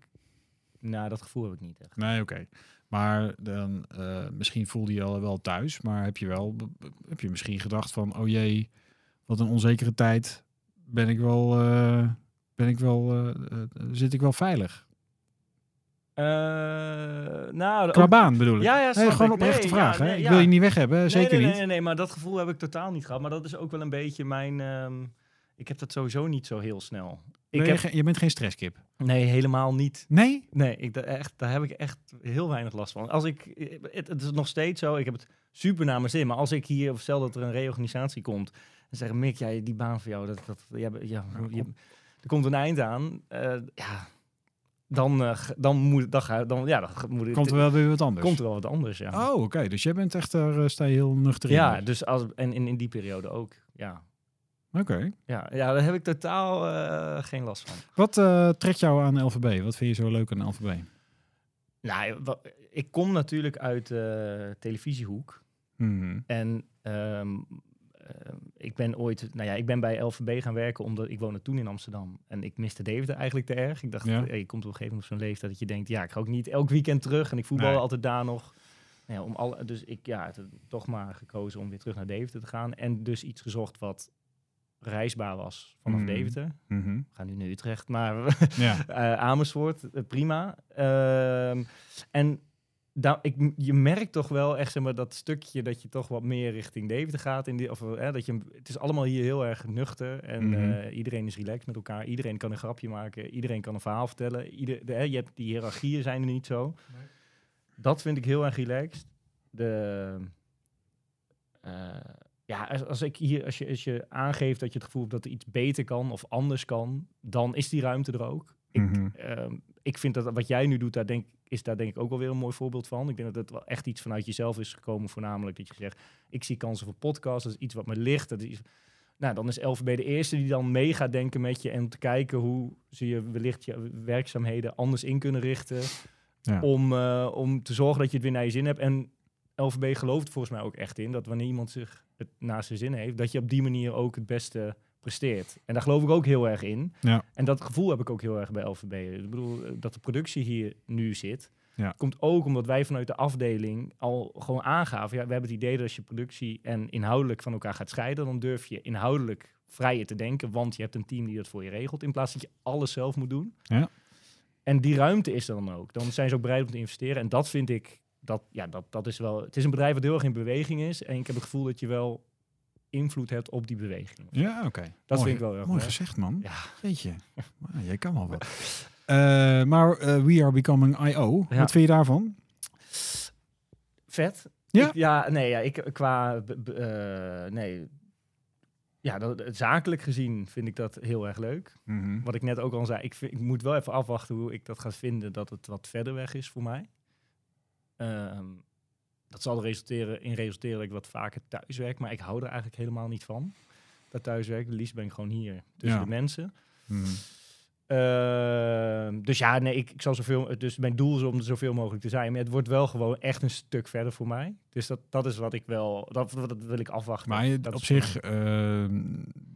[SPEAKER 2] nou dat gevoel heb ik niet echt.
[SPEAKER 1] Nee, oké. Maar dan, eh, misschien voelde je al wel thuis, maar heb je wel, heb je misschien gedacht van, oh jee, wat een onzekere tijd, ben ik wel, eh, ben ik wel, eh, eh, zit ik wel veilig?
[SPEAKER 2] Eh, nou,
[SPEAKER 1] Qua
[SPEAKER 2] ook-
[SPEAKER 1] baan bedoel ik.
[SPEAKER 2] ja, ja,
[SPEAKER 1] Nee,
[SPEAKER 2] snap
[SPEAKER 1] gewoon
[SPEAKER 2] ik.
[SPEAKER 1] een oprechte
[SPEAKER 2] Nee,
[SPEAKER 1] vraag.
[SPEAKER 2] ja,
[SPEAKER 1] hè?
[SPEAKER 2] nee,
[SPEAKER 1] Ik
[SPEAKER 2] ja.
[SPEAKER 1] wil je niet weg hebben, zeker
[SPEAKER 2] nee, nee,
[SPEAKER 1] niet.
[SPEAKER 2] Nee, nee, maar dat gevoel heb ik totaal niet gehad. Maar dat is ook wel een beetje mijn. ehm, ik heb dat sowieso niet zo heel snel.
[SPEAKER 1] Ben
[SPEAKER 2] Ik
[SPEAKER 1] je,
[SPEAKER 2] heb,
[SPEAKER 1] ge- je bent geen stresskip.
[SPEAKER 2] nee, helemaal niet.
[SPEAKER 1] Nee?
[SPEAKER 2] Nee, ik, da- echt, daar heb ik echt heel weinig last van. Als ik, het, het is nog steeds zo, ik heb het super naar mijn zin. Maar als ik hier, of stel dat er een reorganisatie komt. En zeggen, Mick, jij, die baan voor jou, dat, dat, ja, ja, je- er komt een eind aan. eh, ja, dan, eh, g- dan moet dan, ga- dan, ja, dan g- moet ik-
[SPEAKER 1] Komt er wel weer wat anders?
[SPEAKER 2] komt er wel wat anders, ja.
[SPEAKER 1] Oh, oké. Dus jij bent echt, daar eh, sta je heel nuchter in.
[SPEAKER 2] ja,
[SPEAKER 1] dus.
[SPEAKER 2] dus als, en in, in die periode ook, ja.
[SPEAKER 1] Oké.
[SPEAKER 2] Ja, ja daar heb ik totaal eh, geen last van.
[SPEAKER 1] Wat eh, trekt jou aan LVB? Wat vind je zo leuk aan LVB?
[SPEAKER 2] Nou, wa- ik kom natuurlijk uit de televisiehoek. Mhm,
[SPEAKER 1] Hmm.
[SPEAKER 2] En ehm, ehm, ik ben ooit, nou ja, ik ben bij LVB gaan werken omdat ik woonde toen in Amsterdam. En ik miste Deventer eigenlijk te erg. Ik dacht,
[SPEAKER 1] Ja.
[SPEAKER 2] hey, je komt op een gegeven moment op zo'n leeftijd dat je denkt, ja, ik ga ook niet elk weekend terug. En ik voetbalde
[SPEAKER 1] Nee.
[SPEAKER 2] altijd daar nog. Nou ja, om alle, dus ik ja, het- toch maar gekozen om weer terug naar Deventer te gaan. En dus iets gezocht wat reisbaar was vanaf
[SPEAKER 1] Mhm.
[SPEAKER 2] Deventer.
[SPEAKER 1] Mhm.
[SPEAKER 2] We gaan nu naar Utrecht, maar
[SPEAKER 1] Ja.
[SPEAKER 2] eh Amersfoort, eh, prima. Ehm, en daar, ik, je merkt toch wel echt zeg maar, dat stukje dat je toch wat meer richting Deventer gaat. In die, of, eh, dat je, het is allemaal hier heel erg nuchter en
[SPEAKER 1] Mhm.
[SPEAKER 2] eh, iedereen is relaxed met elkaar. Iedereen kan een grapje maken, iedereen kan een verhaal vertellen. Ieder, de, hè, je hebt, die hiërarchieën zijn er niet zo. Dat vind ik heel erg relaxed. De, eh, ja, als, als, ik hier, als, je, als je aangeeft dat je het gevoel hebt dat er iets beter kan of anders kan, dan is die ruimte er ook. Ik,
[SPEAKER 1] Mhm.
[SPEAKER 2] ehm, ik vind dat wat jij nu doet, daar denk, is daar denk ik ook wel weer een mooi voorbeeld van. Ik denk dat het wel echt iets vanuit jezelf is gekomen, voornamelijk dat je zegt, ik zie kansen voor podcasts, dat is iets wat me ligt. Dat is, iets- nou, dan is LVB de eerste die dan mee gaat denken met je en om te kijken hoe ze je wellicht je werkzaamheden anders in kunnen richten.
[SPEAKER 1] Ja.
[SPEAKER 2] Om, eh, om te zorgen dat je het weer naar je zin hebt. En LVB gelooft er volgens mij ook echt in dat wanneer iemand zich het naast zijn zin heeft, dat je op die manier ook het beste presteert. En daar geloof ik ook heel erg in.
[SPEAKER 1] Ja.
[SPEAKER 2] En dat gevoel heb ik ook heel erg bij LVB. Ik bedoel, eh, dat de productie hier nu zit,
[SPEAKER 1] Ja.
[SPEAKER 2] komt ook omdat wij vanuit de afdeling al gewoon aangaven. Ja, we hebben het idee dat als je productie en inhoudelijk van elkaar gaat scheiden, dan durf je inhoudelijk vrijer te denken, want je hebt een team die dat voor je regelt, in plaats dat je alles zelf moet doen.
[SPEAKER 1] Ja.
[SPEAKER 2] En die ruimte is er dan ook. Dan zijn ze ook bereid om te investeren. En dat vind ik, dat, ja, dat, dat is wel... Het is een bedrijf wat heel erg in beweging is. En ik heb het gevoel dat je wel invloed hebt op die beweging.
[SPEAKER 1] Ja, oké.
[SPEAKER 2] Dat
[SPEAKER 1] Mooi.
[SPEAKER 2] vind ik wel erg
[SPEAKER 1] Mooi
[SPEAKER 2] mooi.
[SPEAKER 1] gezegd, man.
[SPEAKER 2] Ja.
[SPEAKER 1] Weet je, jij kan
[SPEAKER 2] [laughs]
[SPEAKER 1] wel wat. Eh, maar eh, We Are Becoming I.O.,
[SPEAKER 2] Ja.
[SPEAKER 1] wat vind je daarvan?
[SPEAKER 2] Vet.
[SPEAKER 1] Ja?
[SPEAKER 2] Ik- ja, nee, ja, ik qua... b- b- eh, nee. Ja, dat, zakelijk gezien vind ik dat heel erg leuk.
[SPEAKER 1] Mhm.
[SPEAKER 2] Wat ik net ook al zei, ik, vind- ik moet wel even afwachten hoe ik dat ga vinden dat het wat verder weg is voor mij. Ehm, dat zal resulteren, in resulteren dat ik wat vaker thuis werk, maar ik hou er eigenlijk helemaal niet van. Dat thuiswerk, liefst ben ik gewoon hier tussen
[SPEAKER 1] Ja.
[SPEAKER 2] de mensen.
[SPEAKER 1] Mhm.
[SPEAKER 2] Ehm, dus ja, nee, ik, ik zal zoveel, dus mijn doel is om er zoveel mogelijk te zijn, maar het wordt wel gewoon echt een stuk verder voor mij. Dus dat, dat is wat ik wel, dat, dat wil ik afwachten.
[SPEAKER 1] Maar je-
[SPEAKER 2] Dat
[SPEAKER 1] op
[SPEAKER 2] is voor
[SPEAKER 1] zich, eh,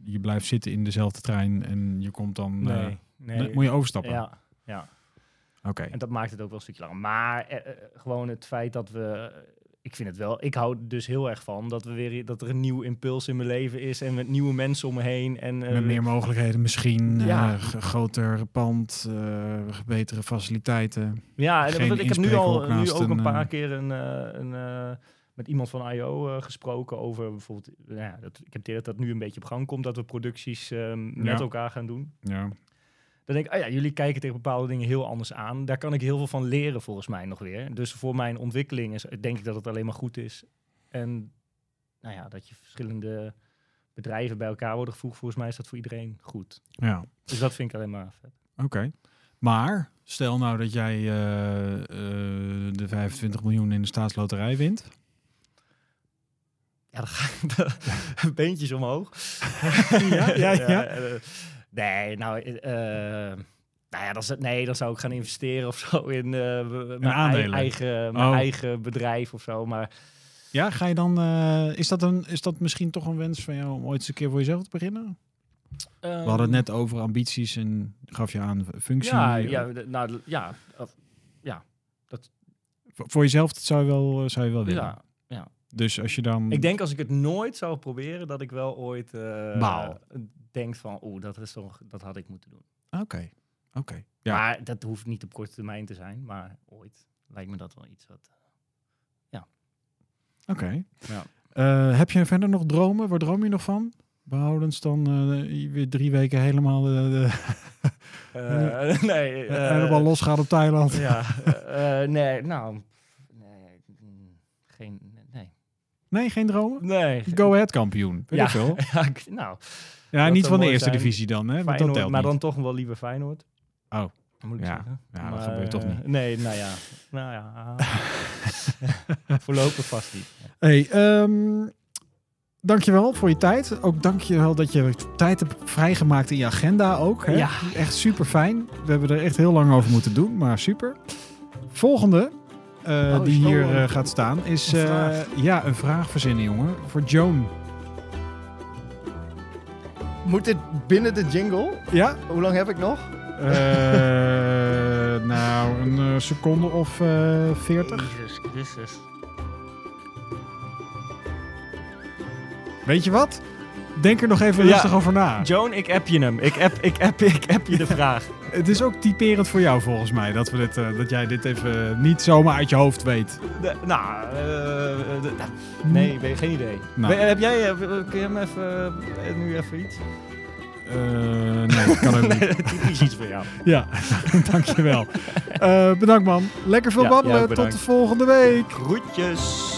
[SPEAKER 1] je blijft zitten in dezelfde trein en je komt dan...
[SPEAKER 2] mij-
[SPEAKER 1] eh,
[SPEAKER 2] nee, nee,
[SPEAKER 1] nee, Moet je overstappen?
[SPEAKER 2] ja, ja.
[SPEAKER 1] Oké.
[SPEAKER 2] En dat maakt het ook wel een stukje langer. Maar eh, eh, gewoon het feit dat we. Ik vind het wel. Ik hou er dus heel erg van dat, we weer, dat er een nieuw impuls in mijn leven is. En met nieuwe mensen om me heen. En, eh,
[SPEAKER 1] Met meer mogelijkheden misschien,
[SPEAKER 2] ja.
[SPEAKER 1] eh, g- groter pand, eh, betere faciliteiten.
[SPEAKER 2] Ja, en
[SPEAKER 1] Geen
[SPEAKER 2] ik heb nu
[SPEAKER 1] inspreker
[SPEAKER 2] al
[SPEAKER 1] ook
[SPEAKER 2] nu
[SPEAKER 1] naast
[SPEAKER 2] ook een
[SPEAKER 1] een,
[SPEAKER 2] paar
[SPEAKER 1] eh,
[SPEAKER 2] keer een. eh, een eh, met iemand van IO eh, gesproken over bijvoorbeeld, nou ja, dat, ik heb het idee dat dat nu een beetje op gang komt, dat we producties eh, met
[SPEAKER 1] Ja.
[SPEAKER 2] elkaar gaan doen.
[SPEAKER 1] Ja.
[SPEAKER 2] Dan denk ik, ah ja, jullie kijken tegen bepaalde dingen heel anders aan. Daar kan ik heel veel van leren volgens mij nog weer. Dus voor mijn ontwikkeling is, denk ik dat het alleen maar goed is. En nou ja, dat je verschillende bedrijven bij elkaar worden gevoegd, volgens mij is dat voor iedereen goed.
[SPEAKER 1] ja.
[SPEAKER 2] Dus dat vind ik alleen maar vet.
[SPEAKER 1] Oké. Maar stel nou dat jij eh, eh, de 25 miljoen in de staatsloterij wint.
[SPEAKER 2] Ja, dan ga ik [laughs] beentjes omhoog.
[SPEAKER 1] [laughs] Ja, ja, ja.
[SPEAKER 2] [laughs] eh, nee, nou, eh, eh, nou ja, dan, zou- nee, dan zou ik gaan investeren of zo in eh, mijn ei-
[SPEAKER 1] aandelen.
[SPEAKER 2] eigen, mijn
[SPEAKER 1] Oh.
[SPEAKER 2] eigen bedrijf of zo. Maar
[SPEAKER 1] Ja, ga je dan. eh, is, dat een, is dat misschien toch een wens van jou om ooit eens een keer voor jezelf te beginnen? We hadden het net over ambities en gaf je aan functie.
[SPEAKER 2] Ja, ja, d- nou, d- ja, of-
[SPEAKER 1] Voor, voor jezelf dat zou je wel, eh, zou je wel willen.
[SPEAKER 2] ja.
[SPEAKER 1] Dus als je dan.
[SPEAKER 2] Ik denk als ik het nooit zou proberen, dat ik wel ooit eh,
[SPEAKER 1] Baal.
[SPEAKER 2] denk van, oeh, dat is toch, dat had ik moeten doen.
[SPEAKER 1] Oké. Oké. Ja.
[SPEAKER 2] Maar dat hoeft niet op korte termijn te zijn, maar ooit lijkt me dat wel iets wat.
[SPEAKER 1] Oké.
[SPEAKER 2] Ja.
[SPEAKER 1] Eh, heb je verder nog dromen? Waar droom je nog van? Behoudens dan eh, weer drie weken helemaal, eh, de-
[SPEAKER 2] Eh, [laughs] nee. eh,
[SPEAKER 1] helemaal losgaan op Thailand. [laughs]
[SPEAKER 2] Ja, eh, eh, nee, nou, nee, mm, geen, nee.
[SPEAKER 1] Nee, geen dromen?
[SPEAKER 2] Nee. [laughs]
[SPEAKER 1] Go ahead kampioen. Weet
[SPEAKER 2] Ja.
[SPEAKER 1] ik veel.
[SPEAKER 2] [laughs] Ja, ik- nou,
[SPEAKER 1] Ja,
[SPEAKER 2] Dat
[SPEAKER 1] niet van
[SPEAKER 2] zou
[SPEAKER 1] de
[SPEAKER 2] mooi
[SPEAKER 1] eerste
[SPEAKER 2] zijn.
[SPEAKER 1] divisie dan, hè? Want dat
[SPEAKER 2] Feyenoord,
[SPEAKER 1] telt
[SPEAKER 2] maar
[SPEAKER 1] niet.
[SPEAKER 2] dan toch wel liever Feyenoord.
[SPEAKER 1] Oh.
[SPEAKER 2] moet ik
[SPEAKER 1] Ja.
[SPEAKER 2] zeggen.
[SPEAKER 1] Ja, dat gebeurt toch niet.
[SPEAKER 2] eh, Nee, nou ja. Nou
[SPEAKER 1] [laughs]
[SPEAKER 2] ja. [laughs] Voorlopig vast niet.
[SPEAKER 1] Hey, ehm, dankjewel voor je tijd. Ook dankjewel dat je tijd hebt vrijgemaakt in je agenda ook. Hè?
[SPEAKER 2] Ja.
[SPEAKER 1] Echt super fijn. We hebben er echt heel lang over moeten doen, maar super. Volgende eh,
[SPEAKER 2] Oh,
[SPEAKER 1] die
[SPEAKER 2] is-
[SPEAKER 1] hier
[SPEAKER 2] oh,
[SPEAKER 1] eh, gaat staan is
[SPEAKER 2] een
[SPEAKER 1] eh,
[SPEAKER 2] vraag.
[SPEAKER 1] ja, een vraag verzinnen, jongen. Voor Joan.
[SPEAKER 4] Moet dit binnen de jingle?
[SPEAKER 1] Ja?
[SPEAKER 4] Hoe lang heb ik nog?
[SPEAKER 1] Eh, [laughs] nou, een eh, seconde of eh, veertig.
[SPEAKER 2] Jezus Christus.
[SPEAKER 1] Ah, Weet je wat? Denk er nog even
[SPEAKER 2] Ja.
[SPEAKER 1] rustig over na.
[SPEAKER 2] Joan, ik app je hem. Ik app, ik app, [laughs] ik app je de vraag.
[SPEAKER 1] Het is ook typerend voor jou volgens mij dat, we dit, eh, dat jij dit even niet zomaar uit je hoofd weet.
[SPEAKER 2] De- nou, eh, eh, de- nou, nee, ben, geen idee.
[SPEAKER 1] Nou.
[SPEAKER 2] Ben- heb jij, eh, kun je hem even, eh, nu even iets?
[SPEAKER 1] Eh, [laughs] nee, dat
[SPEAKER 2] [laughs]
[SPEAKER 1] kan ook niet.
[SPEAKER 2] Typisch iets voor jou.
[SPEAKER 1] Ja, [laughs] dankjewel. Eh bedankt man. Lekker veel
[SPEAKER 2] Ja,
[SPEAKER 1] babbelen.
[SPEAKER 2] jou ook
[SPEAKER 1] Tot de
[SPEAKER 2] bedankt.
[SPEAKER 1] volgende week.
[SPEAKER 2] Groetjes.